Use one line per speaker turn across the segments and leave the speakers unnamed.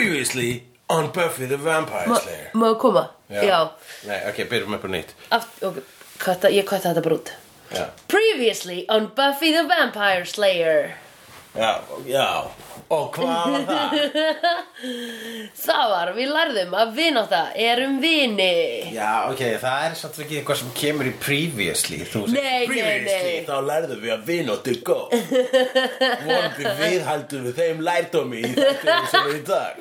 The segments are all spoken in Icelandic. Previously on Buffy the Vampire
Ma-
Slayer.
Má ég koma?
Já. Nei, ok, byrjum upp á nýtt.
Aft, ok, kvarta, ég kvarta þetta bara út
Já,
Previously on Buffy the Vampire Slayer
já, já. Og hvað var það?
Það var, við lærðum að vináta er um vini
já, ok, það er svolítið ekki eitthvað sem kemur í previously. Þú segir
Nei, nei,
previously,
nei.
þá lærðum við að vinóttu góð. Vonandi við haldum við þeim lærdómi í þetta sem er í dag.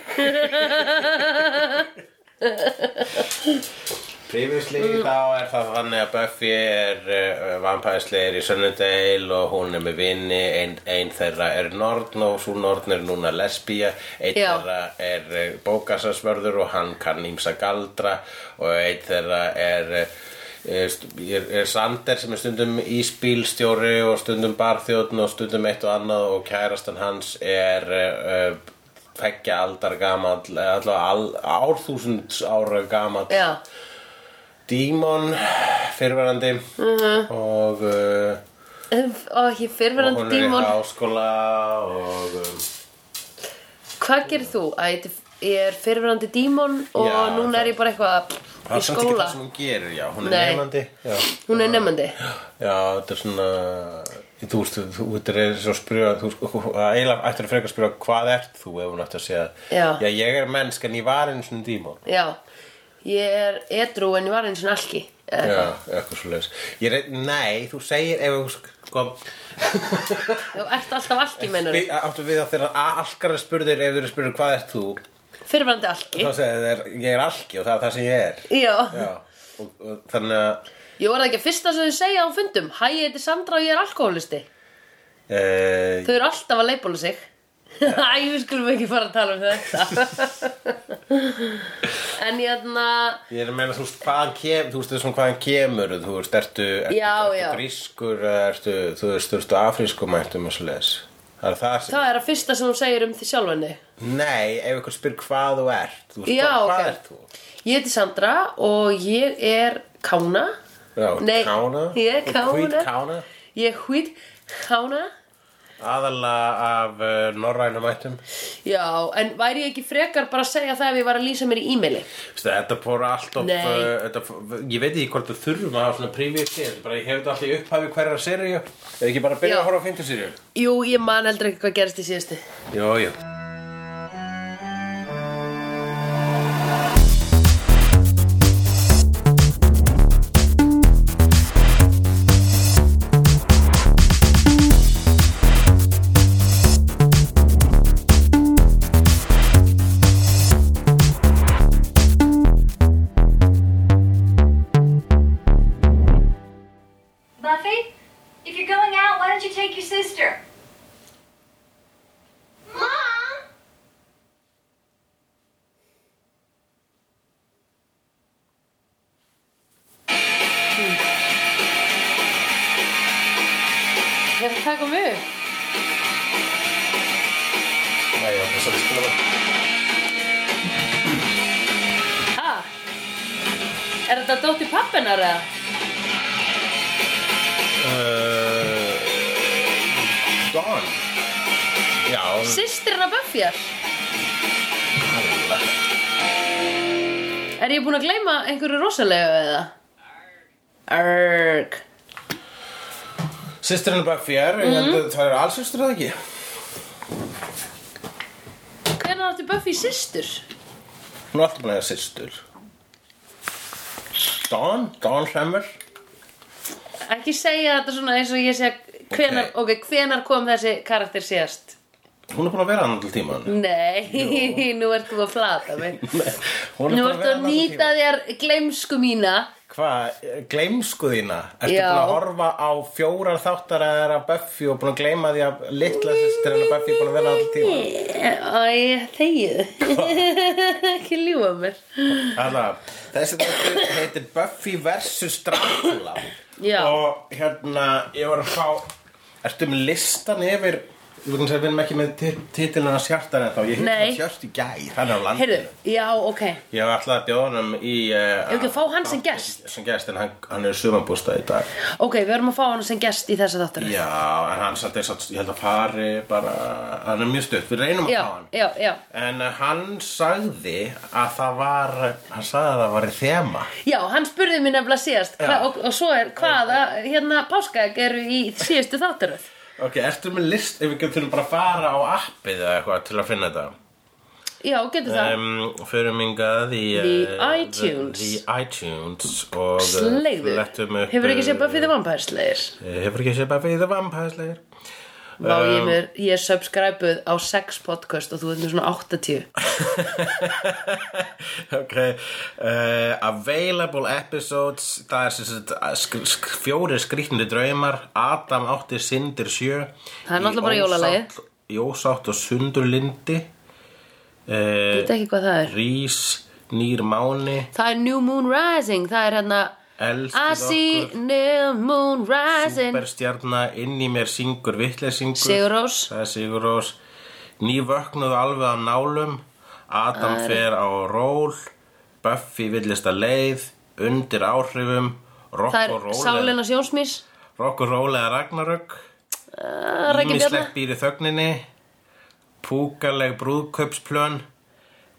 Previously
Mm.
þá er það þannig að Buffy er uh, vampæðisleir í Sunnendale og hún er með vinni, ein, ein þeirra er nortn og svo nortn er núna lesbía, einn
Já.
þeirra er uh, bókasasvörður og hann kann ímsa galdra og einn þeirra er, uh, st- er, er Sander sem er stundum íspílstjóri og stundum barþjóðn og stundum eitt og annað og kærastan hans er... Uh, uh, feggja aldar gamall eða allavega al- árþúsund ára gamall
Já,
Dímon fyrverandi
Mhm.
og, uh,
og Um, ég
og
fyrverandi
hún er í
dímon
háskóla og um,
Hvað gerir þú? Æ, þetta er- ég er fyrverandi dímon og
Já,
núna er ég bara eitthvað í skóla
það sem hún gerir, já, hún er
Nei.
nefnandi já.
Hún er nefnandi
já, þetta er svona þú veist, þú þetta er svo spyrja þú sko, eiginlega ættir að frekar að spyrja hvað ert þú ef hún ætti að segja
Já.
já ég er mennsk en ég var einu svona dímon
Já, ég er edru en ég var eins og Eh, nalki
já, eitthvað svo leis nei, þú segir ef þú sko
Þú ert alltaf alki, meinar
Við- áttu við að þeirra alkara spurðir ef þeir eru spurðir hvað ert þú
Fyrverandi alki
þá segir þeir ég er alki og það er það sem ég er
Já,
Já, og, og þannig að
ég var það ekki að fyrsta sem þau segja á fundum Hæ, ég heiti Sandra og ég er alkoholisti
Uh,
Þau eru alltaf að leipóla sig Æ, við skulum ekki fara að tala um þetta En hérna, ég þarna
ég er að meina, þú veist, hvaðan kem, þú veist, þessum hvaðan kemur, þú veist, ertu, ertu,
Já,
ertu
já.
grískur, eða ertu, þú veist, þú veist, afrískumæntum og svo leis. Það er það sem,
Það er að fyrsta sem hún segir um því sjálfanni
nei, ef ykkur spyr hvað þú ert, þú veist,
Já,
hvað,
ok.
hvað ert þú?
Ég heiti Sandra og ég er kána
Já,
Nei,
kána,
ég er
og hvít
kána.
kána,
Ég er hvít kána
aðalega af uh, norrænum ættum.
Já, en væri ég ekki frekar bara að segja það ef ég var að lýsa mér í e-maili
Veistu, Þetta fór allt of,
Nei.
uh, þetta, fór- ég veit ekki hvort þú þurfum að hafa svona previously, þetta er bara, ég hef þetta alltaf í upphafi hverjar seríu, eða ekki bara byrja
Já.
að horfa á fyndu seríu.
Jú, ég man heldur ekki hvað gerist í síðustu
Jú, jú.
Buffy, if you're going out, why don't you take your sister? Mom!
Ég ætla að taka mig upp
Nei, já, þess að við spila bara.
Ha? Er þetta dótt í pappinar eða?
Uh, Dawn Já,
Systirinn að Buffyar? Er ég búin að gleyma einhverju rosalegu eða? Arrgg
sýsturinn bara fjör mm -hmm. Það eru allsýstur það ekki
Hvernig átti Buffy systur?
Hún er alltaf búin að eiga sýstur Dawn, Dawn Hremmer
Ekki segja þetta svona eins og ég segja Hvenar, ok, hvenar kom þessi karakter síðast?
Hún er búin að vera annan til tíman
Nei, nú ert þú að flata mig
Hún
Nú ert þú að nýta þér gleymsku mína
Hvað, gleymsku þína? Ertu
Já.
búin að horfa á fjórar þáttar að þeirra Buffy og búin að gleyma því að litla sýsturinn að Buffy er búin að vera annan til tíman
Æ, þegið Ekki ljúfa mér
Alla, þessi þetta heitir Buffy vs. Dracula
Já.
og hérna ég var að fá ertu með listan yfir Þú veist að við erum ekki með titilina hans hjartan en þá Ég hitt
Nei.
hans hjart í gær, hann er á landinu
Heyrðu, já, ok
Ég hef alltaf að bjóða honum í uh,
Ef ekki að fá hann sem gest
Sem gest, en hann, hann er sumabústað í dag
Ok, við erum að fá hann sem gest í þessa þáttur
Já, en hann satt eins og ég held að fari bara Hann er mjög stutt, við reynum að
já,
fá hann
já, já
En uh, hann sagði að það var Hann sagði að það var í þema
Já, hann spurði mér nefnilega síðast hva,
Já.
og, og svo er hvaða, hérna, páskaegg eru í síðustu þátturöð
Ok, ertu með list ef við getum bara að fara á appið eða eitthvað til að finna þetta
Já, getur það
um, Förum yngað í
The
eh,
iTunes.
the, the iTunes Og
Slegður
flettum upp
Hefur ekki séð Buffy the Vampire Slayer
Vampire Hefur ekki séð Buffy the Vampire Slayer
Vá,
Um,
ég, mér, ég er subscribeð á 6 podcast og þú ert mér svona 80
Ok uh, Available episodes Það er sem sagt eh, sk sk fjóri skrýtnir draumar Adam átti sindir sjö
Það er náttúrulega bara jólalagið.
Jósátt og sundurlindi
Ég veit
uh,
ekki hvað það er
Rís Nýr Máni
Það er New Moon Rising, það er hérna
Elsku
I see
okkur
new moon rising
Superstjarna, inn í mér syngur vitleysingur
Sigurrós.
Það er Sigurós Nývöknuð alveg af nálum Adam fer á ról Buffy villist að leið Undir áhrifum Rock
Það
og
er
ról
sálina sjónsmís
Rock og ról eða Ragnarök
Það er ekki björna
Ímislegt býr í þögninni Púkaleg brúðkaupsplön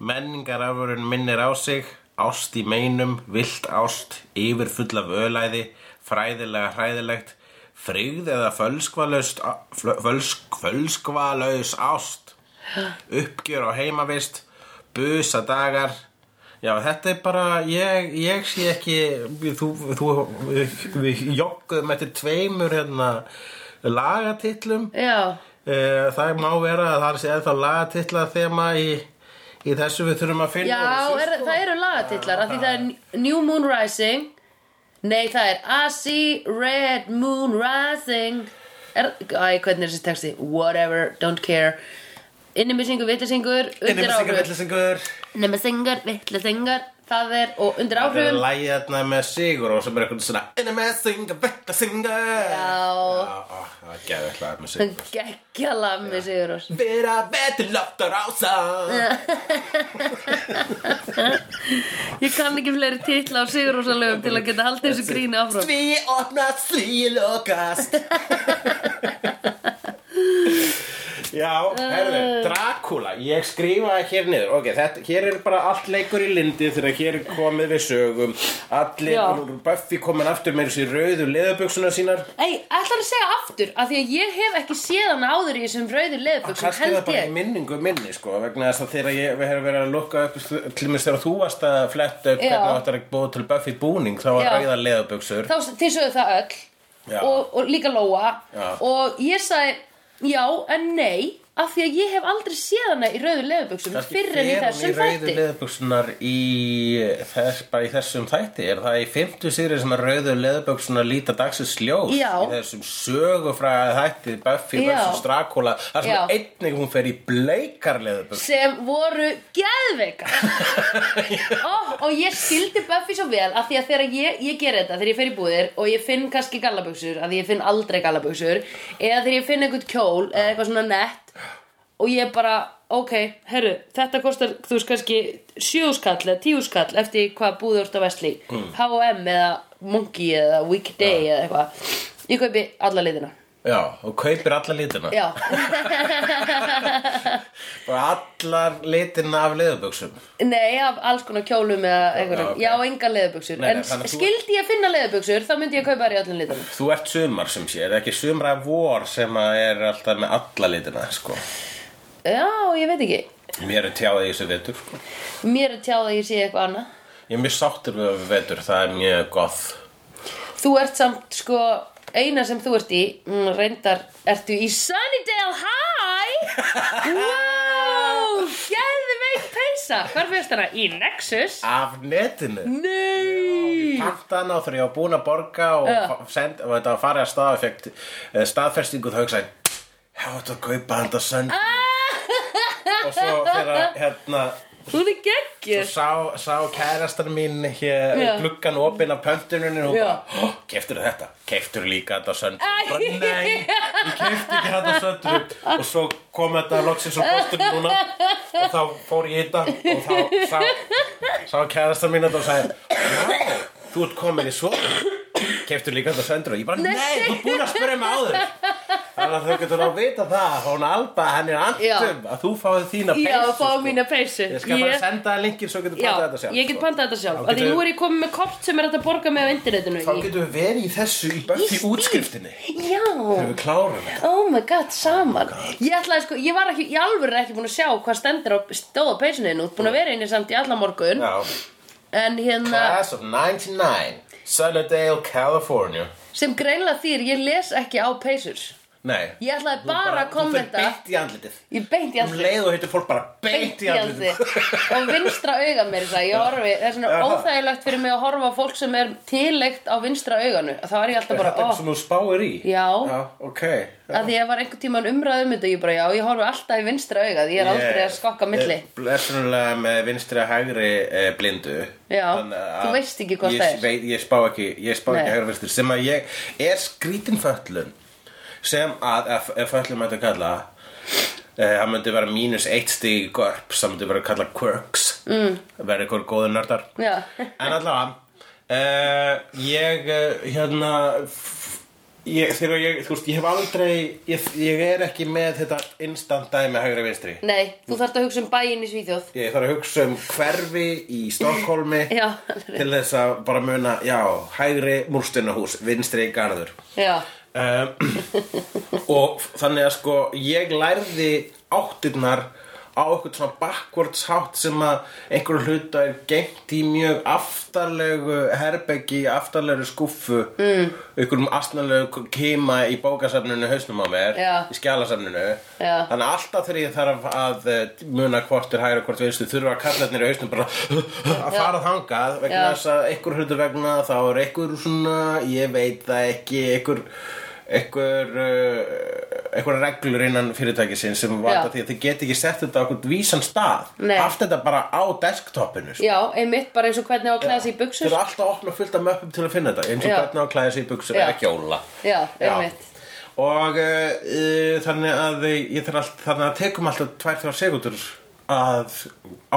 Menningarafurinn minnir á sig Ást í meinum, vilt ást Yfirfull af ölæði Fræðilega hræðilegt Frygð eða fölskvalaust fölsk, Fölskvalaus ást Uppgjör á heimavist Busa dagar Já, þetta er bara, ég, ég sé ekki, við- þú, þú, við, við jogguðum eftir tveimur hérna lagatillum
Já,
Eh, Það má vera að það sé eða lagatitla þema í, í þessu við þurfum að finna
já
úr þessu,
er,
sko.
það eru lagatillar af Því það er new moon rising Nei, það er I see red moon rising er, Æ, hvernig er þessi texti? Whatever, don't care Innimisingur, vitlisingur
Inni
Undir
með syngur,
áhrif
villu syngur
Innimisingur, vitlisingur Það er, og undir
Það er
áhrifum
lægið þarna með Sigur og sem er eitthvað svona Inni með syngur, villu syngur
Já.
Já, það er geðvægt lag með Sigur
Gekkjala með Sigurós
Vera betur loftur ása
Ég kann ekki fleiri titla á Sigurósalöfum til að geta haldið þessu gríni áfram
Því opnast, því lokast Já, herðu, Dracula, ég skrifaði hér niður Ok, þetta, hér er bara allt leikur í lindi þegar hér er komið við sögum Allir,
Já.
Buffy komin aftur með þessi rauðu leðabuxuna sínar
Ei, ætlar að segja aftur af því að ég hef ekki séð hann áður í þessum rauðu leðböksum
Kannski það
held
bara í
ég
minningu minni, sko vegna þess að þegar ég, við hefur verið að lukka upp til mér þegar þú varst að fletta upp
Já.
hvernig áttar að búa til Buffy búning þá var
Já.
rauða leðabuxur
Þá s- þið sögðu það öll
Já.
og, og líka Lóa
Já.
og ég sagði já en nei af því að ég hef aldrei séð hana í rauðu leðböksum
Kannski
fyrr en í
fer hún
þessum
rauðu
þætti
leðböksunar í þess, bara í þessum þætti er það í 50 sýri sem að rauðu leðböksunar líta dagsins ljós
Já.
í þessum sögufræða þætti Buffy
Já.
vs. Dracula þar sem
Já.
að einnig hún fer í bleikar leðböksunar
sem voru geðveikar oh, og ég skildi Buffy svo vel af því að þegar ég, ég ger þetta þegar ég fer í búðir og ég finn kannski gallabuxur af því ég finn aldrei gallabuxur eða þegar ég finn einhvern kjól eða eitthvað svona nett og ég bara, ok, herru þetta kostar, þú veist kannski sjöskall eða tíuskall eftir því hvað búður út á vestli, H&M eða Monkey eða Weekday eða eitthvað ég kaupi alla liðina
Já, og kaupir alla litina
já,
og allar litina af leðböksum
Nei, af alls konar kjólum eða einhverjum.
Já, Ah, ok.
Já, enga leðubuxur.
Nei, nei,
En
þannig að þú-
skildi ég finna leðubuxur, þá myndi ég kaupa þær í öllum litunum.
Þú ert sumar sem sé, er það ekki sumra vor sem að er alltaf með alla litina sko.
Já, ég veit ekki.
Mér er tjáðið í þessu vetur sko.
Mér er tjáð að ég sé eitthvað annað.
Ég er mjög sáttur við vetur, það er mjög gott
Þú ert samt, sko, eina sem þú ert í, mm, reyndar, ertu í Sunnydale High? wow, geðveik peysa. Hvar fyrst hana? Í Nexus?
Af netinu
Nei!
Pantan á þegar ég var búin að borga og, fa- send, og þetta var farið að staða fekk eh, staðfestingu þá hugsaði Já, þetta var kaupa handa sönd Og svo þegar hérna
hún er geggjur
sá, sá kærastar mín hér
Já.
gluggan opinn af pöntununni og hún
Já.
bara, oh, keftur þetta keftur líka þetta
Æ.
söndur nei, ég kefti ekki þetta söndur og svo kom þetta loksins á posturinn núna og þá fór ég í þetta og þá sá, sá kærastar mín þetta og sagði "Já, þú ert komin í svo keftur líka þetta söndur og ég bara, nei, þú ert búin að spyrja mig áður þannig að þau getur að vita það hún Alba, henni er
Já.
andum að þú fáið þína
Já,
peysu,
fá
sko.
mína peysu
Ég skal bara senda það linkin svo getur
Já,
pantað þetta sjálf
ég get
sko.
pantað þetta sjálf
Þá
Af Því
getum-
nú er ég komið með kort sem er hægt að borga með á internetinu
Þá getum við verið í þessu í Buffy
stíl.
útskriftinni
Já,
Þegar við klárum þetta
oh my god, saman Ég ætlaði sko, ég var ekki, ég alveg er ekki búin að sjá hvað stendur á stóða peysinu Nú, búin að vera inni samt í alla morgun
Já
En hérna,
Class of 99 Sunnydale, California
sem greinlega þýr, ég les ekki á peysur
Nei
Ég ætlaði bara að
Þú
kommenta
fyrir beint í andlitið
Ég beint í
Um
allt
leið og heitir fólk bara beint í andlitið
og vinstra auga mér það, ég horfi það er svona
Já.
óþægilegt fyrir mig að horfa á fólk sem er tilleikt á vinstra auganu þá er ég alltaf
Þetta
bara,
er
"Oh, ó,
sem þú spáir í
Já.
ok
að því ég var einhvern tímann umræð um þetta og ég bara, já, ég horfi alltaf í vinstra auga því ég er aldrei að skokka á milli
Blessunulega með vinstri að hægri eh, blindu
Já,
Þannig að
þú veist ekki hvað
ég
það er.
veit, Ég spá ekki, ég spá
Nei.
ekki hægri vinstri sem að ég er skrítin föllun sem að ef, ef föllun mætti að kalla eh, það myndi vera mínus eitt stig í görp sem myndi vera að kalla quirks mm. verið ykkur góður nördar
Já.
en allavega uh, ég eh, hérna f- ég, þegar ég, þú veist, ég hef aldrei ég, ég er ekki með þetta instant dæmi hægri vinstri
Nei, þú þarft að hugsa um bæinn í Svíþjóð
Ég þarf að hugsa um hverfi í Stokkólmi
Já.
til þess að bara muna, já, hægri múrstunahús, vinstri garður.
Já,
Um, og þannig að sko, ég lærði áttirnar á eitthvað svona backwards hátt sem að einhverju hluta er gengt í mjög aftarlegu herbeggi, aftarlegu skúffu, mm. einhverjum aftarlegu kima í bókasafninu hausnum á mér,
Já.
í skjálasafninu.
Já.
Þannig að alltaf þegar ég þarf að eh, muna hvort er hægra og hvort vinstu þurfa að kalla í hausnum bara að fara þangað vegna
Já.
þess að einhver hlutur vegna þá er einhver svona, ég veit það ekki einhver einhver, uh, einhver reglur innan fyrirtækisinn sem valda
Já.
því að þið get ekki sett þetta á einhvern vísan stað
Nei.
haft þetta bara á desktopinu sko.
já, einmitt bara eins og hvernig á að klæða sig í
Þau
buksur
eru alltaf að opna fullt af möppum til að finna þetta eins og
Já.
hvernig á að klæða sig í buksur
Já.
eða kjóla
Já, einmitt
Og uh, uh, þannig að ég þarf allt, þannig að tekum alltaf tvær þrjá segundur að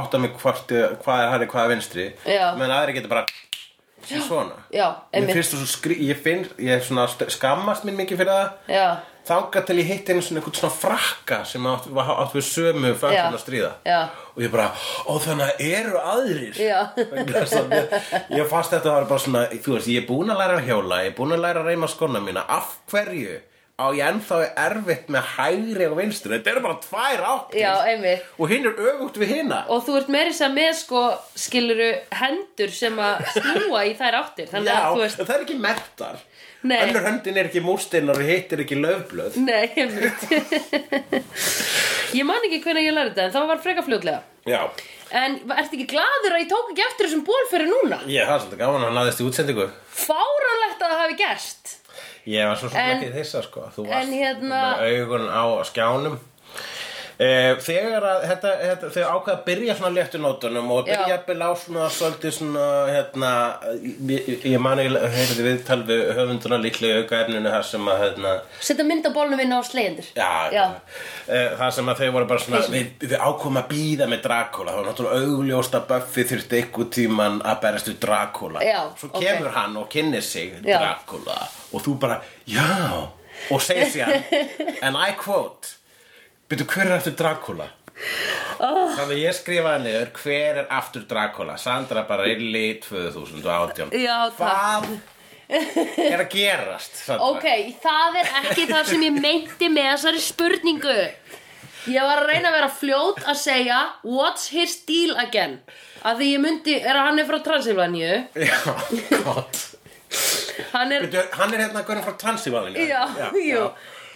átta mig hvort, eh, hvað er hæri, hvað er vinstri
Já.
menn aðri getur bara svona
Já,
Mér
einmitt
finnst þú svo skrí, ég finn, ég er svona st- skammast mín mikið fyrir það
Já,
Þangað til ég hitt einu svona einhvern svona frakka sem átt, var- átt við sömu
Já.
fötum að stríða
Já.
Og ég bara, ó þannig að eru aðrir
Já.
Vegna þess að mér- Ég fannst þetta var bara svona, þú veist, ég er búin að læra að hjóla, ég er búin að læra að reyma skona mína Af hverju á ég ennþá erfitt með hægri og vinstri, þetta eru bara tvær áttir
já, einmitt
Og hinn er öfugt við hina
Og þú ert meiri sem með sko, skiluru hendur sem að snúa í þær áttir Þannig
Já,
að þú veist,
það er ekki mertar
Nei.
Önnur höndin er ekki múrsteinar og hitt er ekki löfblöð
nei, einmitt Ég man ekki hvernig ég lærði þetta en það var frekar fljótlega
Já,
En ertu ekki gladur að ég tók ekki eftir þessum ból fyrir núna?
ég það er svolítið gaman að hann aðeist í útsendingu
Fáranlegt að það hafi gerst
Ég var svo sem
En-
ekki þessa sko Þú varst
en hérna-
með augun á skjánum Eh, Þegar að þetta, þetta, þau ákveða að byrja svona léttu nótunum og
Já.
byrja að byrja á svona svolítið svona hérna, ég, ég mani ég heyrði viðtal við höfunduna líklega auka efninu þar sem að hérna,
Setta mynd á bólnum inn á slegjendur
Já,
Já.
Eh, það sem að þau voru bara svona við, við ákomum að býða með Dracula það var náttúrulega augljóst að Buffy þurfti einhver tíman að berast við Dracula
Já,
svo
ok.
kemur hann og kynnir sig
Já.
Dracula og þú bara, já og segir sér and I quote byrju hver er eftir Dracula
Ah.
þannig að ég skrifaði niður hver er aftur Dracula Sandra Barilli 2018
Já, takk.
hvað er að gerast Sandra?
Ok, það er ekki það sem ég meinti með þessari spurningu Ég var að reyna að vera fljót að segja What's his deal again? Af því ég myndi, er að hann er frá Transilvaníu
já, gott
Hann er,
Bíddu, hann er hérna gaurin frá Transívalinu
já, jú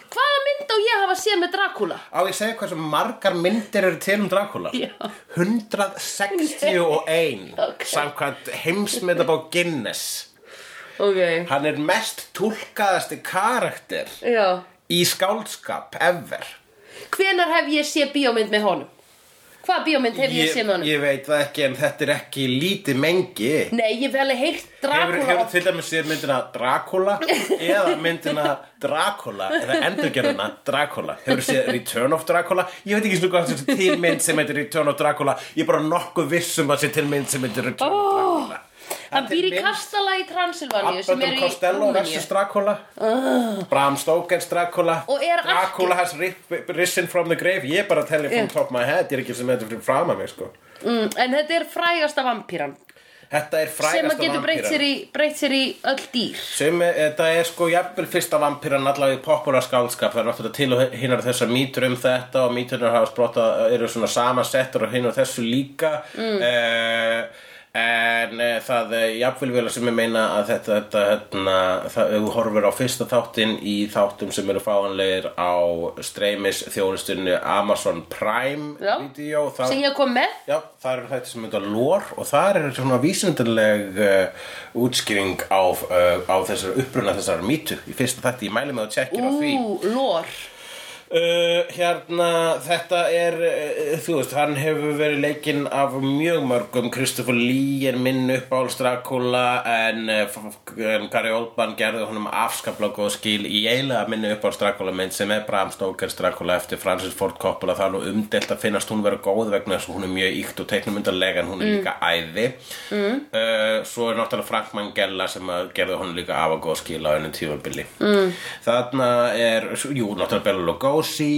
Hvaða mynd á ég hafa séð með Dracula?
Á ég segja hversu margar myndir eru til um Dracula
Já.
161
Ok.
Samkvæmt heimsmyndabá Guinness
Ok,
Hann er mest tólkaðasti karakter
já
Í skáldskap, ever
Hvenær hef ég séð bíómynd með honum? Hvaða bíómynd hef ég, séð með honum?
ég veit það ekki en þetta er ekki lítið mengi
Nei, ég hef alveg heyrt
Hefur,
Dracula
hefur
oft.
til dæmis séð myndina Dracula eða myndina Dracula eða endurgerðina Dracula Hefur séð Return of Dracula Ég veit ekki svona hvað þetta er til mynd sem heitir Return of Dracula Ég er bara nokkuð viss um að sé til mynd sem heitir Return of Dracula
Hann
Þetta er
býr í
mynd-
Kastala í Transilvaníu sem
Abbott
er
og
í
Costello
Rúmeníu. Ah.
versus Dracula Bram Stokers Dracula
Og er
Dracula
allt-
has ri- risen from the grave Ég er bara að telja from top of my head Ég er ekki sem þetta fyrir fram að mig sko
Mm, en þetta er frægasta vampíran
Þetta er frægasta
sem að getur breytt sér, í, breytt sér í öll dýr.
sem er, þetta er sko jafnvel fyrsta vampíran allavega í popular skálskap það er náttúrulega til og hinnar þessar mýtur um þetta og mýtunar hafa sprotta eru svona samasettur og hinnar þessu líka mm. en uh, það er jafnvel vel sem ég meina að þetta, þetta hérna, það, ef þú horfir á fyrsta þáttinn í þáttum sem eru fáanlegir á streymis þjónustunni Amazon Prime
Já.
video, þá-
Sem ég kom með.
Já, það eru þetta sem mynda lór og það eru svona vísindarleg uh, útskýring á, uh, á þessar uppruna þessar mýtu í fyrsta þætti, ég mæli með að tjekkir á því
Ú, lór.
uh, Hérna, þetta er, uh, þú veist, hann hefur verið leikinn af mjög mörgum Kristoffer Lee er minn uppáhalds Dracula en, uh, f- f- en Gary Oldman gerði honum afskaplega góð skil í eiginlega minni uppáhalds Dracula mynd sem er Bram Stokers Dracula eftir Francis Ford Coppola það er nú umdelt að finnast hún vera góð vegna þess að hún er mjög íkt og teiknumyndarlega en hún er líka æði mm. svo er náttúrulega Frank Mangella sem að gerði hún líka af að góð skil á ennum tífambili mm. þarna er, jú, náttúrulega Bela Lugosi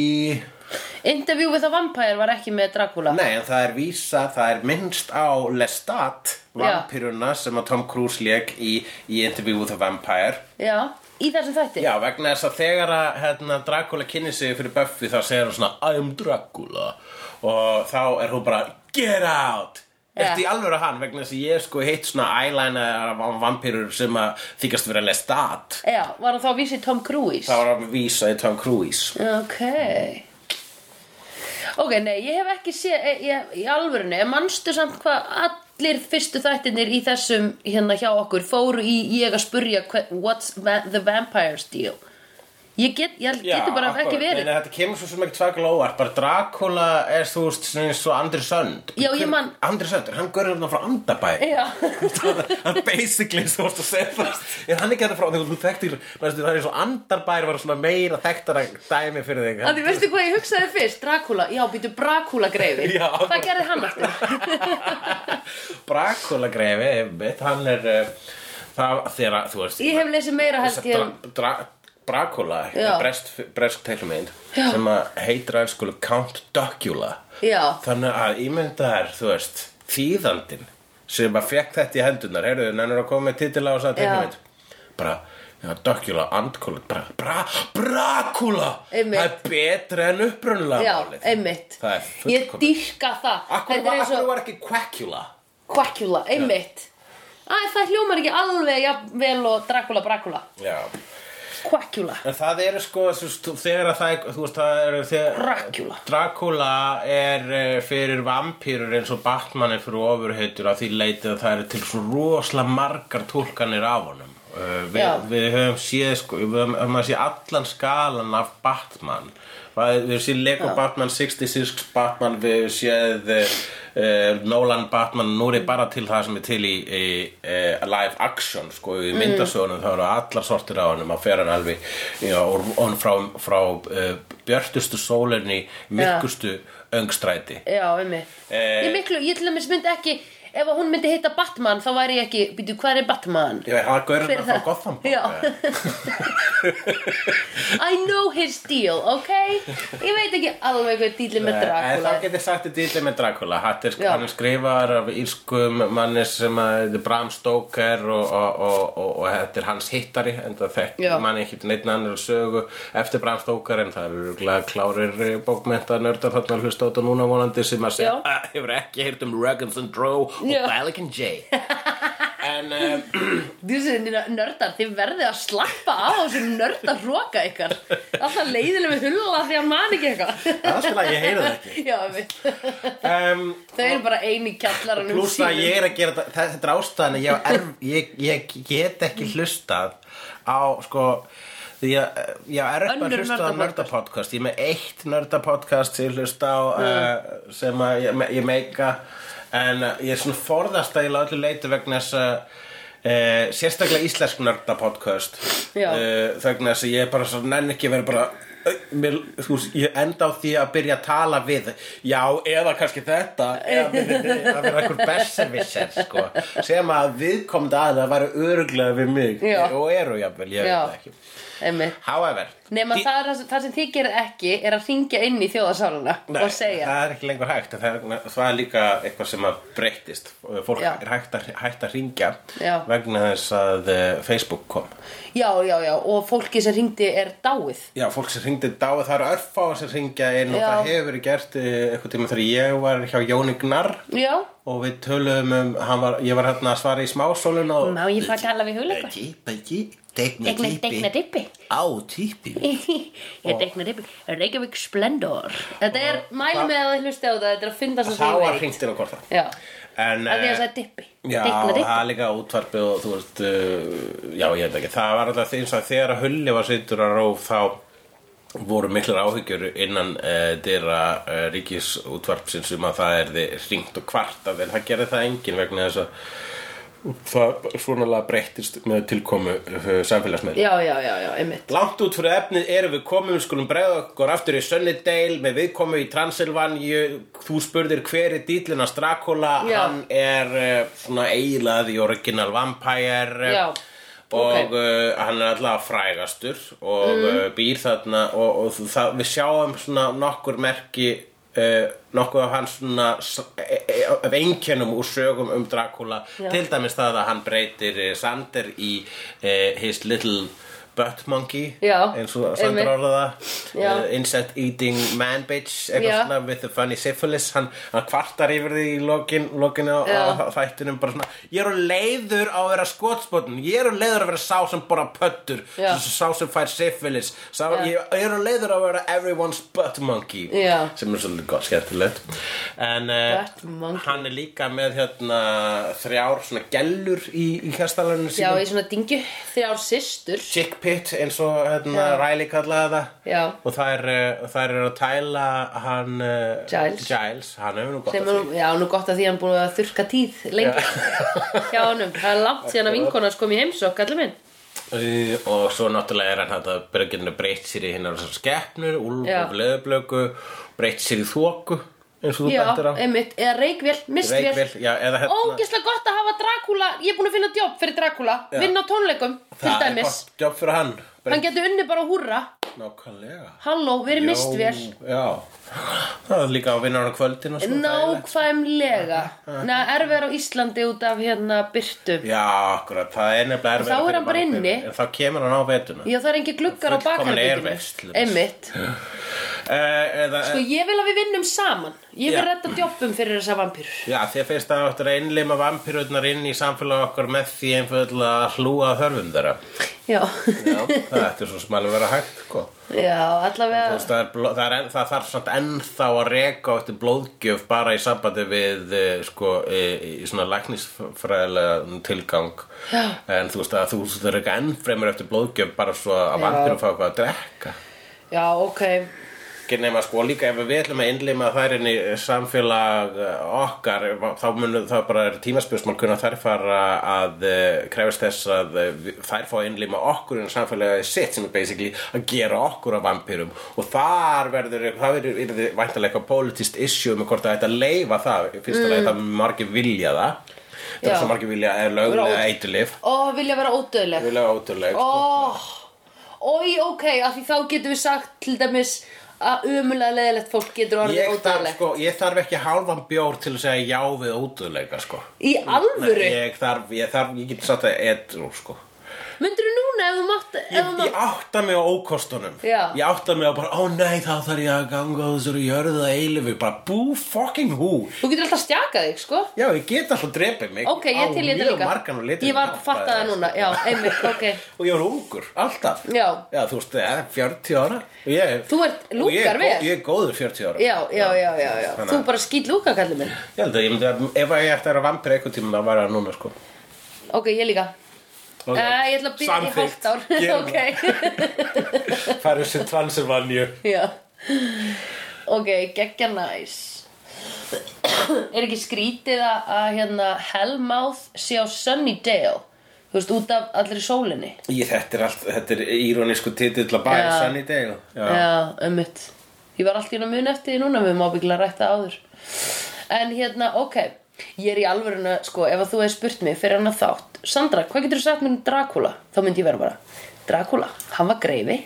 Interview with a Vampire var ekki með Dracula.
nei, en það er vísa, það er minnst á Lestat,
Já.
vampiruna sem að Tom Cruise leik í, í Interview with a Vampire
Já, í þessum þætti.
Já, vegna þess að þegar að hérna, Dracula kynni sig fyrir Buffy þá segir hún svona I am Dracula og þá er hún bara Get out!
Já.
Eftir í alvöru hann vegna þess að ég hef sko heitt svona eyeliner vampirur sem að þykast vera lestat
Já, var hann þá að vísi Tom Cruise?
Það var að vísa í Tom Cruise
Ok Ok, nei, ég hef ekki séð ég, ég, í alvörinu, en manstu samt hvað allir fyrstu þættinir í þessum hérna hjá okkur fóru í ég að spurja hver, what's va the vampire's deal Ég get, ég getur bara
akkurat.
ekki verið
Nei, nei, þetta kemur svo sem ekki svakalega óvart Bara Dracula er þú veist svona eins og Andri Sönd
Já, ég man-
Andri Sönd, hann görður hann frá Andabæ
Já,
hann basically þú vorst að segja það er hann ekki þetta frá þegar þú þekktir næstu, það er svo andarbær var svona meira þekktara dæmi fyrir þig
að því veistu hvað ég hugsaði fyrst, Dracula, já, býtu Dracula greifi
Já,
Hvað gerði hann aftur?
Dracula greifi einmitt, hann er uh, það þegar að, þú veist
Ég hef lesið meira held ég um-
dra, dra, Dracula,
Já.
brest, brest teiklumind
Já.
sem að heitir að skulu Count Dracula
Já,
þannig að ímyndaðar, þú veist þýðandinn sem að fekk þetta í hendunar heyrðu, nennir að koma með titila og sagði
Já.
teiknumind bara, já, Dracula, Andkula bara, bra, Dracula
Einmitt.
það er betra en upprunulega
já,
málið.
einmitt
það er
Ég
fullkomið
dýrka það
akkur,
Þetta er
var,
eins og-
akkur var ekki Quackula
Quackula, einmitt Æ, það hljómar ekki alveg jafn vel og Dracula, Dracula
já,
Quackula
en það eru sko þú veist, þegar að það, er- þú veist, það eru þegar
Dracula
Dracula er eh, fyrir vampýrur eins og Batman er fyrir ofurheitur að því leiti að það eru til svo rosalega margar tólkanir af honum uh, við,
Já.
við höfum séð sko, við höfum, höfum að sé allan skalan af Batman Það er- við höfum séð Lego Batman 66 Batman, við höfum séð uh, Nolan Batman nú er ég bara til það sem er til í, í uh, live action sko, í
Mm.
myndasögunum þá eru allar sortir á honum að fer hann alveg já, og hann frá, frá uh, björtustu sólinni myrkustu öngstræti
Já, einmitt
Eh.
Ég miklu, ég til dæmis myndi ekki Ef að hún myndi heita Batman þá væri ég ekki Býtu, hvað er Batman?
ég veit, hann gaurinn
Fyrir
er frá
það.
Gotham
Já.
eða?
I know his deal, ok? Ég veit ekki alveg hvað dýli með
Eh, En
Dracula
það getur sagt að dýla með Dracula Hatt er,
Já.
hann er skrifaðar af írskum manni sem að þetta er Bram Stoker og, og, og, og, og þetta er hans hittari en það þekk
Já.
manni ekki neitt annar sögu eftir Bram Stoker en það eru örugglega klárir bókmenta nördar þarna að hlusta á þetta núna vonandi sem að segja
Já.
"Ah, hefur ekki heyrt um Ruggins and Drow og
Já.
Balak and Jay en um,
Þessi nördar, þið verðið að slappa á þessu nördar roka ykkar Alltaf leiðilega með hulla því að man ekki eitthvað
það er svona að ég heyri það ekki
Já, einmitt
um,
Þau eru bara einu kjallaranum
Plus að ég er að gera þetta, það- þetta er ástæðan að ég, á erf, ég, ég get ekki hlustað á sko Því að, eh, já, er eitthvað að
Önnur
hlusta á nördapodcast
nördapodcast.
Ég er með eitt nördapodcast sem ég hlusta á uh, sem að ég, me- ég meika en uh, ég er svona forðast að ég láta leita vegna þess að uh, sérstaklega íslensk nördapodcast
Já.
uh, vegna þess að ég er bara svo nenn ekki að vera bara eh, Mér, þú veist, ég enda á því að byrja að tala við já, eða kannski þetta eða að vera einhver berservisser sko, sem að viðkomandi aðeins að vera öruglega við mig
Já.
og eru jafnvel, ég veit
Já.
það ekki
einmitt
However
Nefn að
Því-
það, er- það sem þið gerið ekki er að ringja inn í þjóðasáluna
Nei,
og segja
Það er ekki lengur hægt en það er, það er líka eitthvað sem að breyttist Fólk
Já.
er hægt að, hægt að ringja
Já.
vegna þess að eh, Facebook kom
Já, já, já, og fólki sem ringdi er dáið
Já, fólk sem ringdi dáið, það eru örfá sem ringja inn og
Já.
það hefur verið gert eh, eitthvað tíma þegar ég var hjá Jóni Gnarr
Já,
og við töluðum um, hann var, ég var hérna að svara í smásólun og
má ég fara að tala við hugleikur
Beggi, Beggi, degna
Degna, degna
típi
dippi
Á típi
Ég degna dippi Reykjavík Splendor Þetta er, mælum við að þið hlusti á það Þetta er að finna svo
Þá var hringt inn á hvort það
Já,
En,
að því
eh,
að það er dippi
Já,
Degna
það
dippi
er líka útvarpi og þú veist, uh, já ég veit ekki, það var alltaf eins og þegar að Hulli var sittur að róf þá voru miklar áhyggjur innan uh, dyra uh, ríkisútvarpsins um að það erði hringt og kvartað en það gerði það enginn vegna þess að það svona lag breyttist með tilkomu uh, samfélagsmeður.
Já, já, já, já, einmitt
Langt út fyrir efnið erum við komum, við skulum bregða okkur aftur í Sunnydale með viðkomu í Transylvaníu, þú spurðir hver er dýtlinn að Strakula,
Já.
hann er uh, svona eiginlega í Original Vampire
Já,
og
ok. Mm.
uh, hann er alltaf frægastur og uh, býr þarna og, og það, við sjáum svona nokkur merki Uh, nokkuð af hans svona s- e- e- af einkennum úr sögum um Dracula
Já.
til dæmis það að hann breytir eh, Sander í eh, his little butt monkey
Já,
eins og Sander
einmitt.
orðaða
Já.
uh, insect eating man bitch
Já.
eitthvað svona with the funny syphilis hann, hann kvartar yfir því í lokin, lokin á,
Já.
á þættinum bara svona ég er á leiður á að vera skotspotn ég er á leiður á að vera sá sem bara pöttur
Já.
sá sem fær syphilis sá,
Já.
ég er á leiður á að vera everyone's butt monkey
Já.
sem er svolítið gott skemmtilegt en eh,
Butt monkey.
hann er líka með hérna þrjár svona gellur í, í hérstalarinu
Já, í svona dingju þrjár systur
chick pit eins og hérna,
Já.
Riley kallaði það
Já.
og þær, eh, þær eru að tæla hann eh,
Giles.
Giles hann hefur nú gott
sem
að
er, já, nú gott að því hann búið að þurrka tíð lengi hjá honum, það er langt síðan að vinkona kom í heimsók, allir minn
því uh, og svo náttúrulega er hann hægt að byrja að geta breytt sér í hinnar þessar skeppnur úlf
Já.
og leðublöku breytt sér í þóku eins og þú
já, eh,
bættir á
einmitt, eða reykvél, mistvél
Reykvél, já, eða hérna
ógeðslega gott að hafa Dracula ég er búin að finna jobb fyrir Dracula vinna á tónleikum, til
það er
dæmis
gott jobb fyrir hann
hann getur unni bara að húrra
nákvæmlega
halló, verið
Jó,
mistvél
já það er líka að vinna hann á sko, kvöldin og svona þægilegt.
nákvæmlega neða erfið á Íslandi út af hérna byrtu
já, akkurat, það er nefnilega erfitt
þá er hann bara inni.
en þá kemur hann á vetuna
já, það er engin gluggar á
Fullkomin
bakarbygginu
airveislu.
einmitt,
Eh, eða,
sko ég vil að við vinnum saman ég vil
Já.
redda jobbum fyrir þessa vampýrur
Já, þér finnst það áttur að einlima vampirutnar inn í samfélag okkar með því einfallega að hlúa að þörfum þeirra
já,
Já, það ætti svo sem alveg vera hægt sko.
já,
Þú
allavega
veist, það, er bló, það, er, enn- það þarf samt ennþá að reka á eftir blóðgjöf bara í sambandi við eh, sko, í, í svona læknisfræðilega tilgang Já. en þú veist að þú þú þarf ekki enn fremur eftir blóðgjöf bara svo að
Já.
vampirum fá eitthvað að drekka
já, ok,
ekki nema sko líka ef við ætlum að innlima þær inn í eh, samfélag eh, okkar þá munum það bara er tímaspjörsmál hvernig þær fara að eh, krefjast þess að eh, vi- þær fá að innlima okkur inn í samfélagi sitt sem er basically að gera okkur að vampirum og þar verður það verður yrði væntanlega eitthvað politist issue um hvort það ætti að leifa það í fyrsta mm. lagi það margir vilja það það
Já.
er svo margir vilja eh, er lögulega eitilif
Ó, vilja vera ódöðleg
vilja ótrúlega
Ó, ói, ok, af því þá getum við sagt til dæmis að umulega leðilegt fólk getur orðið
Ég þarf,
ódöðleg
sko, ég þarf ekki hálfan bjór til að segja já við ótrúleika sko.
Í alvöru?
Ég þarf, ég þarf, ég get satt að edru, sko
Myndirðu núna ef þú mátt, ef þú
Ég, ég
mátt
átta mig á ókostunum
Já.
Ég átta mig á bara, ó nei, þá þarf ég að ganga á þessari jörðu að eilifu Bara bú fucking hú
Þú getur alltaf stjakað þig, sko
Já, ég get alltaf drepið mig
Ok, ég til ég þetta líka
Á mjög margan og litur
Ég var að fatta það
sko.
núna, já, einmitt, ok
Og ég var ungur, alltaf
Já.
þú veist, eh, 40 ára Og ég,
Þú ert
og ég er
lúkar
gó-
vel
Ég er góður 40 ára
Já, já, já, já, já
Þannig að-
Þú bara skýt lúka, kallið minn
Ég held að, ég myndi að, ef að ég ætti að vera vampir eitthvað tíma, það var það núna, sko
Ok, ég líka
Ok.
Uh, ég ætla að byrja því
Samþykkt.
hálft ár
Gerum
Ok,
Færum sem Transylvaníu
já Ok, geggja næs Er ekki skrítið að, að hérna, Hellmouth sé á Sunnydale Þú veist, út af allir sólinni
Í þetta er allt, þetta er írónisku titill að bæja
Já.
sann í deg
Já, ömmit Ég var alltaf inn að muna eftir því núna Við má byggilega rætta áður En hérna, ok Ég er í alvöruna, sko, ef að þú hefði spurt mig fyrir hann að þátt Sandra, hvað getur þú sagt mér um Dracula? Þá myndi ég vera bara Dracula, hann var greifi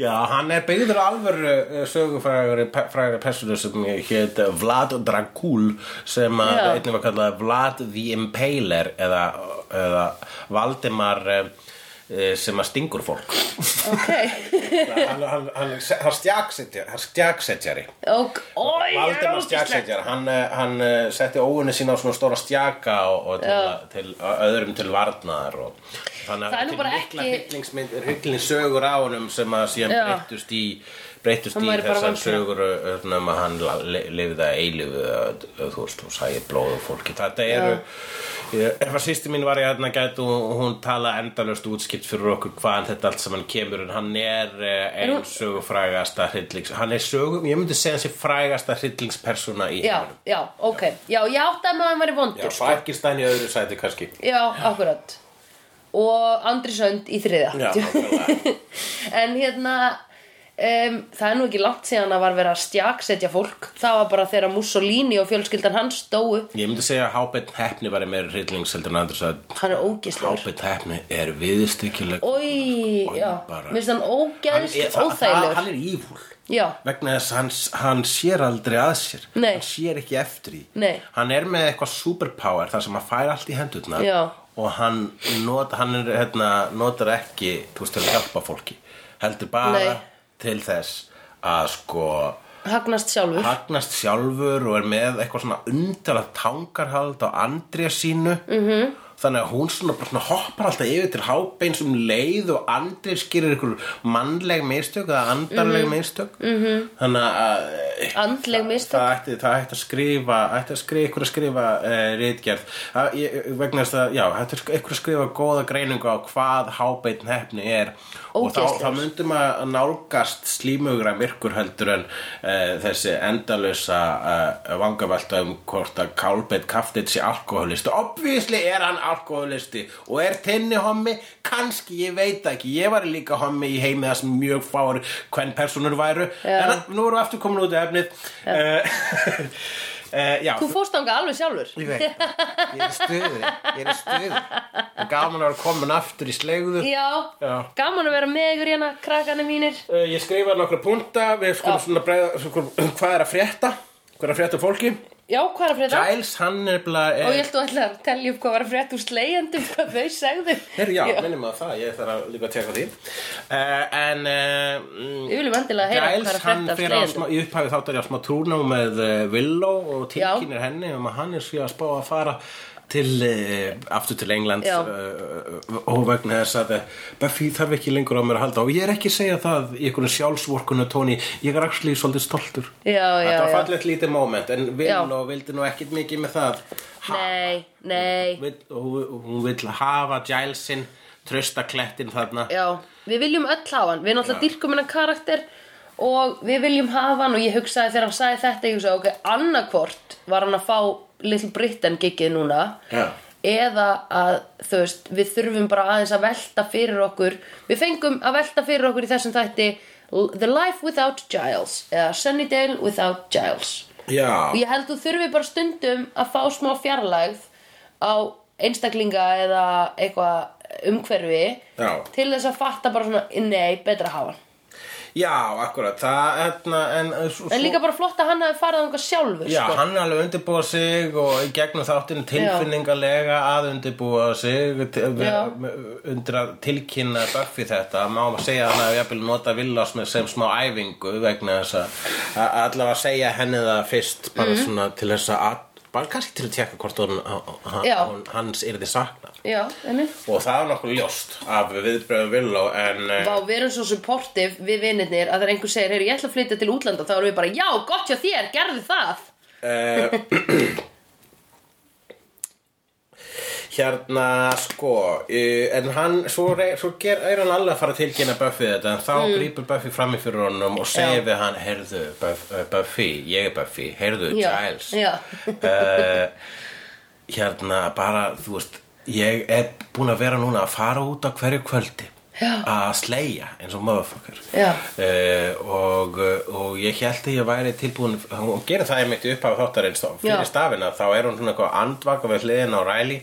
Já, hann er byggður á alvöru eh, sögufrægari pe- frægari personu sem hétt Vlad Dracul sem að
Já.
einnig var kallað Vlad the Impaler eða, eða Valdimar eh, eh, sem að stingur fólk
Ok,
hann, hann, hann, hann stjaksetjar hann stjaksetjari
ok, oi, ég er
Valdimar
ógislegt
stjaksetjar hann, eh, hann eh, setti óunni sína á svona stóra stjaka og, og til,
Já.
til, öðrum til varnaðar og þannig að
Það er nú
til
bara
mikla
ekki-
hryllingsmynd hryllingsögur á honum sem að síðan
Já.
breyttust í breyttust
Hann
í
væri bara
þessar
vampíra.
sögur eh, svona, um að hann la- li- lifði að eilifu þú veist, hún sæði blóð og fólki þetta eru ég- ef að sýsti mín var ég hérna gætu hún tala endalöst útskipt fyrir okkur hvaðan þetta allt saman kemur en hann er eh, ein sögufrægasta hryllings hann er sögum, ég myndi segja hans er frægasta hryllingspersona í
Já,
heiminum.
já, ok Já, ég áttaði með að hann væri
Já,
vondur sko.
Frankenstein í öðru sæti kannski
Já, akkurat Og Andri Sönd í þriða
Já, nákvæmlega.
En hérna um, Það er nú ekki langt síðan að var verið að stjaksetja fólk Það var bara þegar Mussolini og fjölskyldan hans dóu
ég myndi segja að Hábett Hefni var meira hryllings heldur en Andrés að
Hann er ógeðslegur
Hábett Hefni er viðstykjuleg
Ói, já,
bara-
minnst hann
hann er,
ógeðslega
það- það-
óþægilegur
hann er ívúl
Já,
vegna þess að hann, hann sér aldrei að sér
Nei.
hann sér ekki eftir því
Nei.
hann er með eitthvað superpower þar sem hann fær allt í hendurnar
Já.
og hann, not, hann er, hérna, notar ekki þú veist til að hjálpa fólki heldur bara
Nei.
til þess að sko
hagnast sjálfur
hagnast sjálfur og er með eitthvað svona undarlegt tangarhald á André sínu
Mhm.
-hmm. þannig að hún svona, bara svona hoppar alltaf yfir til hábeins um leið og André skýrir ykkur mannleg mistök eða andarleg mistök -hmm. þannig að
Mhm.
eh,
Andleg mistök.
það ætti, það ætti að skrifa ætti að skrifa, ykkur að skrifa uh, rítgerð Það- ég- vegna þess að, já, ætti að sk- ykkur að skrifa góða greiningu á hvað hábeinn hefni er og þá,
Ógeðslegur.
þá myndum að nálgast slímugra myrkur heldur en uh, þessi endalösa uh, vangavelta um hvort að Kálbeitt kaftið sé alkoholisti obvísli er hann alkoholisti og er tenni hommi, kannski ég veit ekki, ég var líka hommi í heimi það sem mjög fáur hvern personur væru
Já.
en nú erum við aftur komin út í efnið uh, uh, já,
Þú fórst þangað alveg sjálfur
ég veit það. ég er stuður ég er stuður gaman að vera komin aftur í slegðu
Já,
Já.
gaman að vera með ykkur hérna, krakkana mínir
Eh, Ég skrifaði nokkra punta Við skulum
Já.
svona bregða skulum, Hvað er að frétta? Hvað er að frétta af fólki?
Já, hvað er að frétta?
Giles, hann nefnilega
Og ég
er
held að ætla að telja upp hvað var að frétt úr slegjendum hvað þau segðu
Herri, já, minnum að það, ég þarf að líka að teka því uh, En
Við
uh,
viljum endilega heyra hvað er
Giles,
að
hann
frétta af
fyrir á
slegjendum
smá, Í upphæfi þáttar ég á smá trúna með uh, Willow og
Já.
tilkynir henni um að hann er svo að spá að fara til, uh, aftur til England
Já.
uh, og vegna þess að eh, Buffy þarf ekki lengur á mér að halda og ég er ekki að segja það í einhvern sjálfsvorkunu tóni ég er actually svolítið stoltur
Já, já,
Þetta var
já
fallegt lítið moment en
Já.
Will og vildi nú ekkit mikið með það Ha-
Nei, nei
vill- og og hún vill hafa Gilesin trösta klettin þarna
Já, við viljum öll hafa hann Við náttúrulega dyrkum hennan karakter Og við viljum hafa hann Og ég hugsaði þegar hann sagði þetta Ég hugsaði, ok, annarkvort var hann að fá Little Britain gigið núna
Já.
Eða að, þú veist, við þurfum bara aðeins að velta fyrir okkur Við fengum að velta fyrir okkur í þessum þætti The Life Without Giles Eða Sunnydale Without Giles
Já.
Og ég held þú þurfi bara stundum að fá smá fjarlægð á einstaklinga eða eitthvað umhverfi
Já.
til þess að fatta bara svona nei, betra að hafa hann.
Já, akkurat það, hérna, en, en, svo,
En líka bara flott að hann hafi farið þangað sjálfur
Já,
sko.
hann er alveg undirbúa sig og í gegnum þáttinu tilfinningalega að undirbúa sig til-
Já.
undir að tilkynna Buffy þetta, má maður segja hann að jafnvel nota Villas með sem smá æfingu vegna þess að- að allavega segja henni það fyrst bara
Mhm.
svona til þess að bara kannski til að tjekka hvort hún,
Já.
hún, hans yrði saknað
Já, einmitt.
og það er nokkuð ljóst af viðbröðu Villó en eh,
Vá, við erum svo supportive við vinnirnir að þegar einhver segir, heyr, ég ætla að flytja til útlanda þá erum við bara, já, gott hjá þér, gerðu það
Eh, hérna sko uh, en hann, svo, rey- svo ger, er hann alveg að fara að tilkynna Buffy þetta en þá mm. grýpur Buffy fram í fyrir honum og segir
Já.
við hann, heyrðu Buff, uh, Buffy, ég er Buffy, heyrðu
Já,
Giles
já.
Eh, hérna bara, þú veist ég er búin að vera núna að fara út á hverju kvöldi
Já.
að sleia eins og motherfucker
Já.
Eh, og, og ég held að ég væri tilbúin hún gerir það einmitt upp af þáttarins þá-
Já.
fyrir stafina, þá er hún svona eitthvað andvaka við hliðin á ræli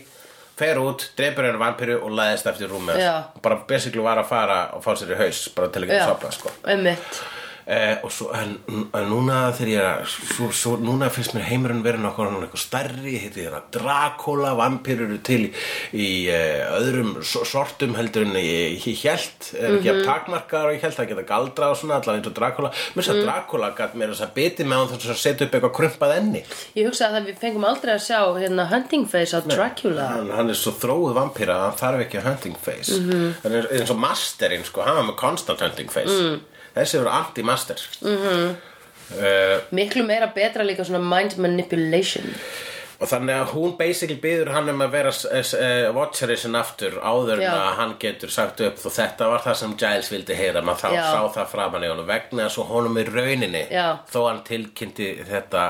fer út, dreipur henni vampiru og læðist eftir rúmið
Já.
og bara basically var að fara og fá sér í haus bara til ekki
Já.
að sopna sko.
Einmitt.
Eh, og svo, en, en núna þegar ég er að, svo, svo, núna finnst mér heimurinn verið nokkur hann eitthvað stærri, heiti þeirra Dracula, vampýrur eru til í, í eh, öðrum so- sortum heldur en ég, ég held, er ekki að takmarkaðar og ég held að geta galdra og svona allan eins og Dracula, mér þess að Dracula gætt mér þess að biti með hann þess að setja upp eitthvað krumpað enni.
Ég hugsa að það við fengum aldrei að sjá hérna Hunting Face á Dracula
Hann, hann er svo þróð vampýra að hann þarf ekki að hunting face. Mm -hmm. Hann er eins og masterinn sko, hann var með constant hunting face. Þessi eru anti-master. Mm -hmm.
Miklu meira betra líka svona mind manipulation
Og þannig að hún basically byður hann um að vera uh, watcheri sinn aftur áður en
Já.
að hann getur sagt upp og þetta var það sem Giles vildi heyra maður þá
Já.
sá það framan í honum vegna þess að honum er rauninni
Já.
þó hann tilkynnti þetta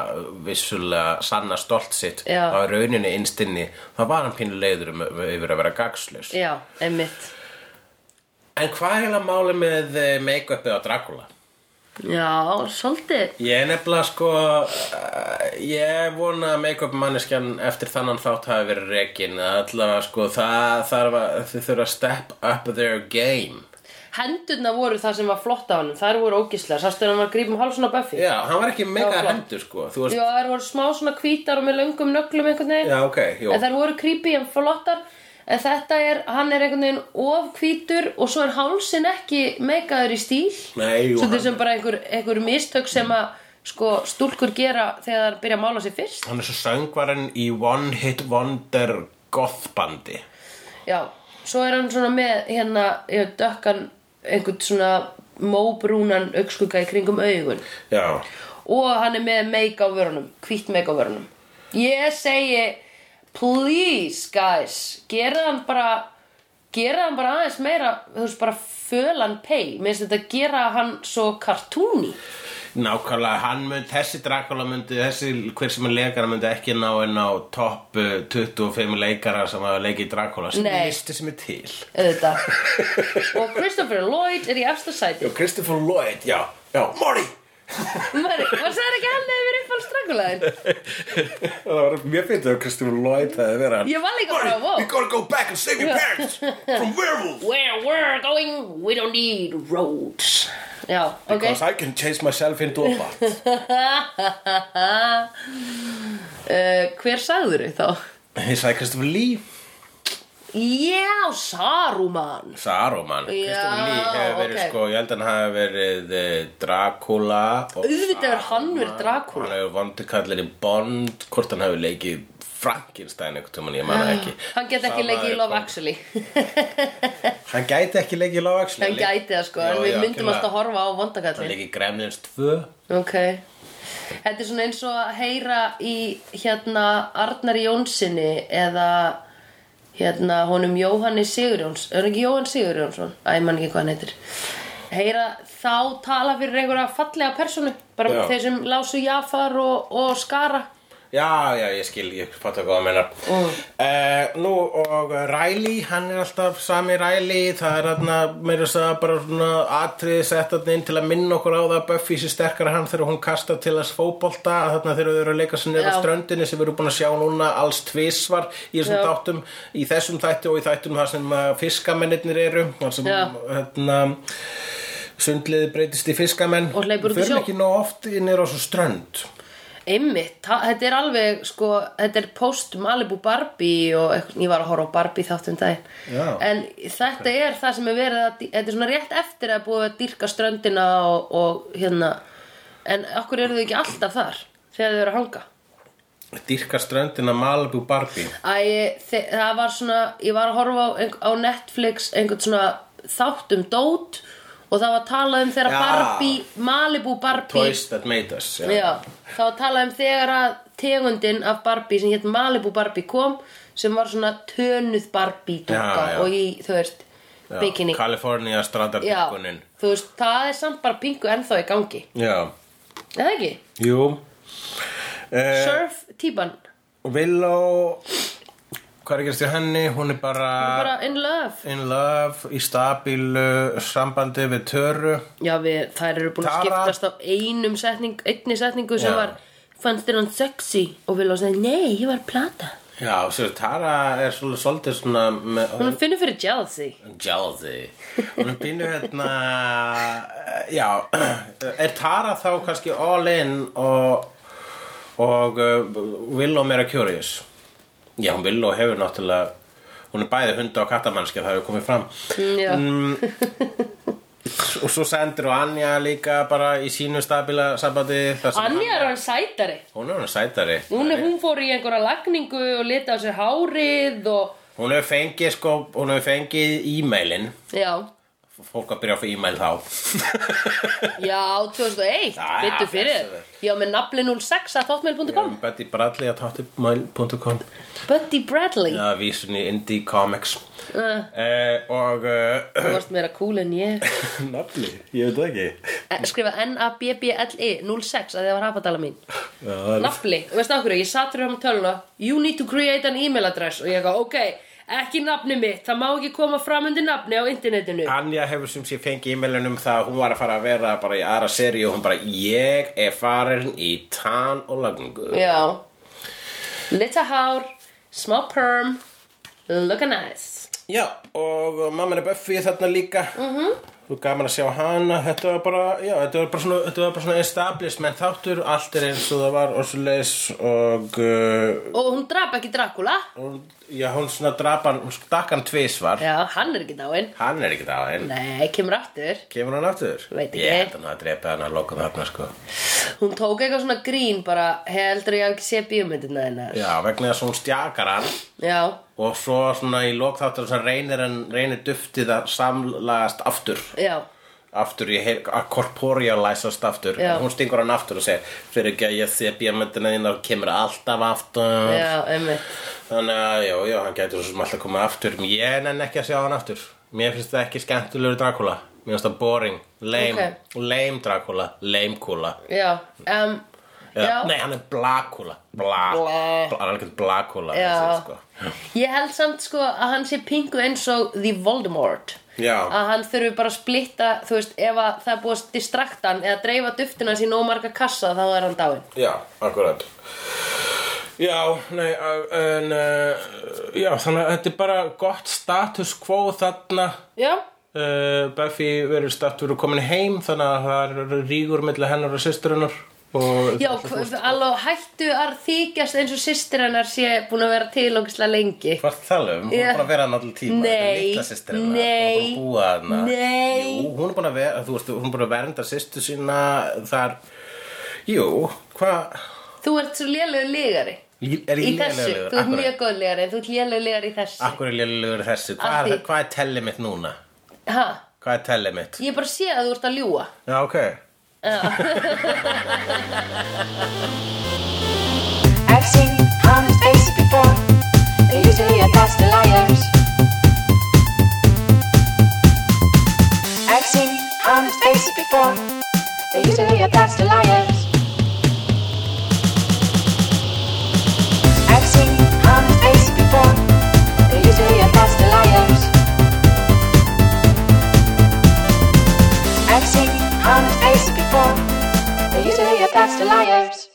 vissulega sanna stolt sitt
Já.
á rauninni innstinni þá var hann pínu leiður um, yfir að vera gagslaus
Já, einmitt
En hvað er eiginlega máli með eh, make-upið á Dracula?
Já, svolítið
Ég er nefnilega sko eh, Ég vona að make-up manneskjan eftir þannan þátt hafi verið rekin allavega sko það þarf að þið þurfa að step up their game
Hendurna voru það sem var flott á hann Þær voru ógislega, sástu hann var að grípa um hálsuna á Buffy
Já, hann var ekki mega
Já, flott.
hendur sko Þú veist,
Já, þær voru smá svona hvítar og með löngum nöglum einhvern veginn
já ok, jú
En þær voru creepy en flottar En þetta er, hann er einhvern veginn of hvítur Og svo er hálsin ekki meikaður í stíl
Nei, jú,
Svo
hann,
þessum bara einhver, einhver mistök sem að sko, stúlkur gera þegar þær byrja að mála sér fyrst
hann er svo söngvarinn í One Hit Wonder goth bandi
Já, svo er hann svona með hérna, ég dökkan einhvern svona móbrúnan augskugga í kringum augun
Já,
og hann er með meik á vörunum, hvítt meik á vörunum ég segi please guys gera hann bara gera hann bara aðeins meira þú veist bara fölan pay mér finnst þetta gera hann svo kartúni
nákvæmlega hann mynd, þessi Dracula myndi, þessi hver sem er leikara myndi ekki ná en á topp eh, 25 leikara sem hafa leikið Dracula sem
Nei.
er listi sem er til
auðvitað og Christopher Lloyd er í efsta sæti
Já, Christopher Lloyd, já, já, Morty
maður maður sagði ekki að hann hefur verið uppáhalds Draculaðin
Það var mjög fyndið að Christopher Lloyd hefði verið hann
Ég var líka bara, wow.
gotta go back and save your parents from werewolves
where we're going we don't need roads já, ok
I can chase myself into a bat
uh, hver sagður þau þá?
Ég sagði Christopher Lee
já, Saruman
Saruman, Christopher
Já,
Lee hefur verið
ok.
sko, ég held að hann hafi verið eh, Dracula og
Auðvitað er hann verið
Saruman.
Dracula.
Hann hefur vondikallin í Bond, hvort hann hafi leikið Frankenstein einhvern tímann, ég
Ah.
manna ekki
Hann get ekki
Sá
leikið í
maður
Love
kom-
Actually
Hann gæti ekki leikið í Love Actually
Hann gæti það sko, en
Já,
við
já,
myndum
algjörlega.
alltaf að horfa á
Hann
vondakallin
leikið Gremlins 2
Ok Þetta er svona eins og að heyra í hérna Arnari Jónssini eða hérna honum Jóhanni Sigurjóns Er hann ekki Jóhann Sigurjónsson? Æ, ég man ekki hvað hann heitir Heyra þá tala fyrir einhverja fallega persónu bara
Já.
þeir sem lásu Jafar og, og Skara
Já, já, ég skil, ég fattu hvað að meina
Mm.
uh, Nú, og Riley, hann er alltaf sami Riley Það er hann að, meira þess að bara svona atriði sett hann inn til að minna okkur á það að Buffy sé sterkara hann þegar hún kastar til þess fótbolta að þarna þegar þau eru að leika sér niður á
Já.
ströndinni sem við erum búin að sjá núna alls tvisvar í þessum
Já.
þáttum í þessum þætti og í þættum þar sem uh, fiskamennirnir eru þar sem,
Já.
hérna, sundliði breytist í fiskamenn
Og hleypur út í
Við förum
sjó.
ekki nóg oft niður á svo strönd
Einmitt, ta- þetta er alveg sko, þetta er post Malibu Barbie og eitthvað- ég var að horfa á Barbie þáttum daginn
Já.
en þetta er það sem er verið að, þetta er svona rétt eftir að búið að dýrka ströndina og, og hérna en okkur eru þau ekki alltaf þar þegar þau eru að hanga
Dýrka ströndina Malibu Barbie
Æ, þe- það var svona, ég var að horfa á, einh- á Netflix einhvern svona þátt um dót og það var talað um þegar
Já.
Barbie, Malibu Barbie
Toys that made us já.
Já, þá var talað um þegar að tegundin af Barbie sem hétt Malibu Barbie kom sem var svona tönuð Barbie dúka
Já, já.
og í, þú veist,
Já,
bikini
California
Já,
strandarpinkunin
þú veist, það er samt bara pingu ennþá í gangi
Já,
Er það ekki?
jú eh,
Surf típan
Willow Hvað er að gerast í henni? Hún er bara,
bara in love
in love í stabílu sambandi við Töru
Já, við, þær eru búin að
Tara.
skiptast á einum setning, einni setningu sem
Já.
var fannst þér hann sexy og vil á að segja nei, ég var plata
Já, sér, Tara er svolítið, svolítið svona með,
Hún finnur fyrir jealousy
Jealousy Hún er pínu hérna eh, Já Er Tara þá kannski all in og, og uh, Willow meira curious Já, hún Willow hefur náttúrulega Hún er bæði hunda og kattamannski Það hefur komið fram Mm.
Já,
Og svo sendir hún Anja líka bara í sínu stabila sambandi þar sem
Anja er hann sætari
hann- Hún er hún sætari
Hún, er, hún fór í einhverja lagningu og leta á sér hárið og...
Hún hefur fengið sko Hún hefur fengið e-mailin
Já,
Fólk að byrja að fá e-mail þá
já, 2001,
Já,
byttu fyrir
blessaður.
Já, með nafli 06 að hotmail.com
Betty Bradley at hotmail.com
Buddy Bradley,
Já, vísun í Indie Comics
uh,
eh, Og uh,
þú varst meira cool en ég
Nafli, ég veit ekki
Eh, Skrifa N-A-B-B-L-E 06 að það var hapadala mín
Já, það er-
Nafli, og veistu okkur, ég satt fyrir hann um töluna You need to create an email address Og ég eitthvað, ok, ekki nafni mitt Það má ekki koma fram undir nafni á internetinu
Anja hefur sem sé fengið e-mailin um það að hún var að fara að vera bara í aðra seri og hún bara ég er farin í tan og lagningu
Já Lita hár, smá perm Looka nice
Já, og mamma er Buffy þarna líka mm
Mhm.
-hmm. Þú er gaman að sjá hana, þetta var bara, já, þetta var bara svona, þetta var bara svona establishment þáttur, allt er eins og það var og svo leis og uh,
Og hún drap ekki Dracula
Hún, já, hún svona drap hann, hún stakk hann tvísvar.
Já, hann er ekki dáinn
Hann er ekki það, en
Nei, kemur aftur
kemur hann aftur?
Veit ekki.
Ég held hann að drepa hann að loka þarna, sko.
Hún tók eitthvað svona grín bara Heldur ég hafi ekki sé bíómyndina hennar
Já, vegna þess að hún stjakar hann
Já,
og svo svona í lok þáttur sem reynir hann, reynir duftið að samlagast aftur.
já
Aftur í, heil- að korporealisast aftur.
Já.
En hún stingur hann aftur og segir, fyrir ekki að ég sé bíamöndina þín og kemur alltaf aftur.
Já, einmitt
Þannig að, já, já, hann gætur svo sem alltaf komið aftur. Ég nenn ekki að sjá hann aftur. Mér finnst það ekki skemmtulegur Dracula. Mér finnst það boring, lame, lame Dracula, lame kúla.
Já, um, já.
Nei, hann er blakúla. Bla,
Bla.
bla, hann er ekkert blakúla.
Já.
þessi, Sko.
Ég held samt sko að hann sé pingu eins og The Voldemort
Já,
að hann þurfi bara að splitta þú veist, ef að það er búið að distrakta hann eða dreifa duftina sín og marga kassa þá er hann dáinn
já, akkurat. Já, nei, uh, en, uh, já, þannig að þetta er bara gott status quo þarna.
Já,
Uh, Buffy verður statt verður komin heim þannig að það er rígur milli hennar og systurinnar og
já, hv- alveg hættu að þykjast eins og systir hennar sé búin að vera tilókslega lengi
Hvað ertu að tala um? Hún er
Já.
búin að vera hann allir tíma
Nei,
þetta er litla systir hennar,
nei,
Hún er búin að búa hana
nei.
Jú, hún er búin að vera Þú veist, hún er búin að vernda systur sína Þar Jú, hvað
Þú ert svo lélegu ligari
Er
í
ég
þessu,
lélegur?
þú ert
Akkur-
mjög góð ligari en þú ert lélegu ligari í þessu
Akkur er lélegur í þessu
Af
Hvað
því-
er, hvað er tellið mitt núna?
ha,
Hvað er tellið mitt?
Ég bara sé að þú ert að ljúga
Já, ok
I've seen honest faces before. They're usually a past liars. I've seen honest faces before. They're usually a past liars. I've seen honest faces before. They're usually a past liars. I've seen honest faces before. They're usually a past liars.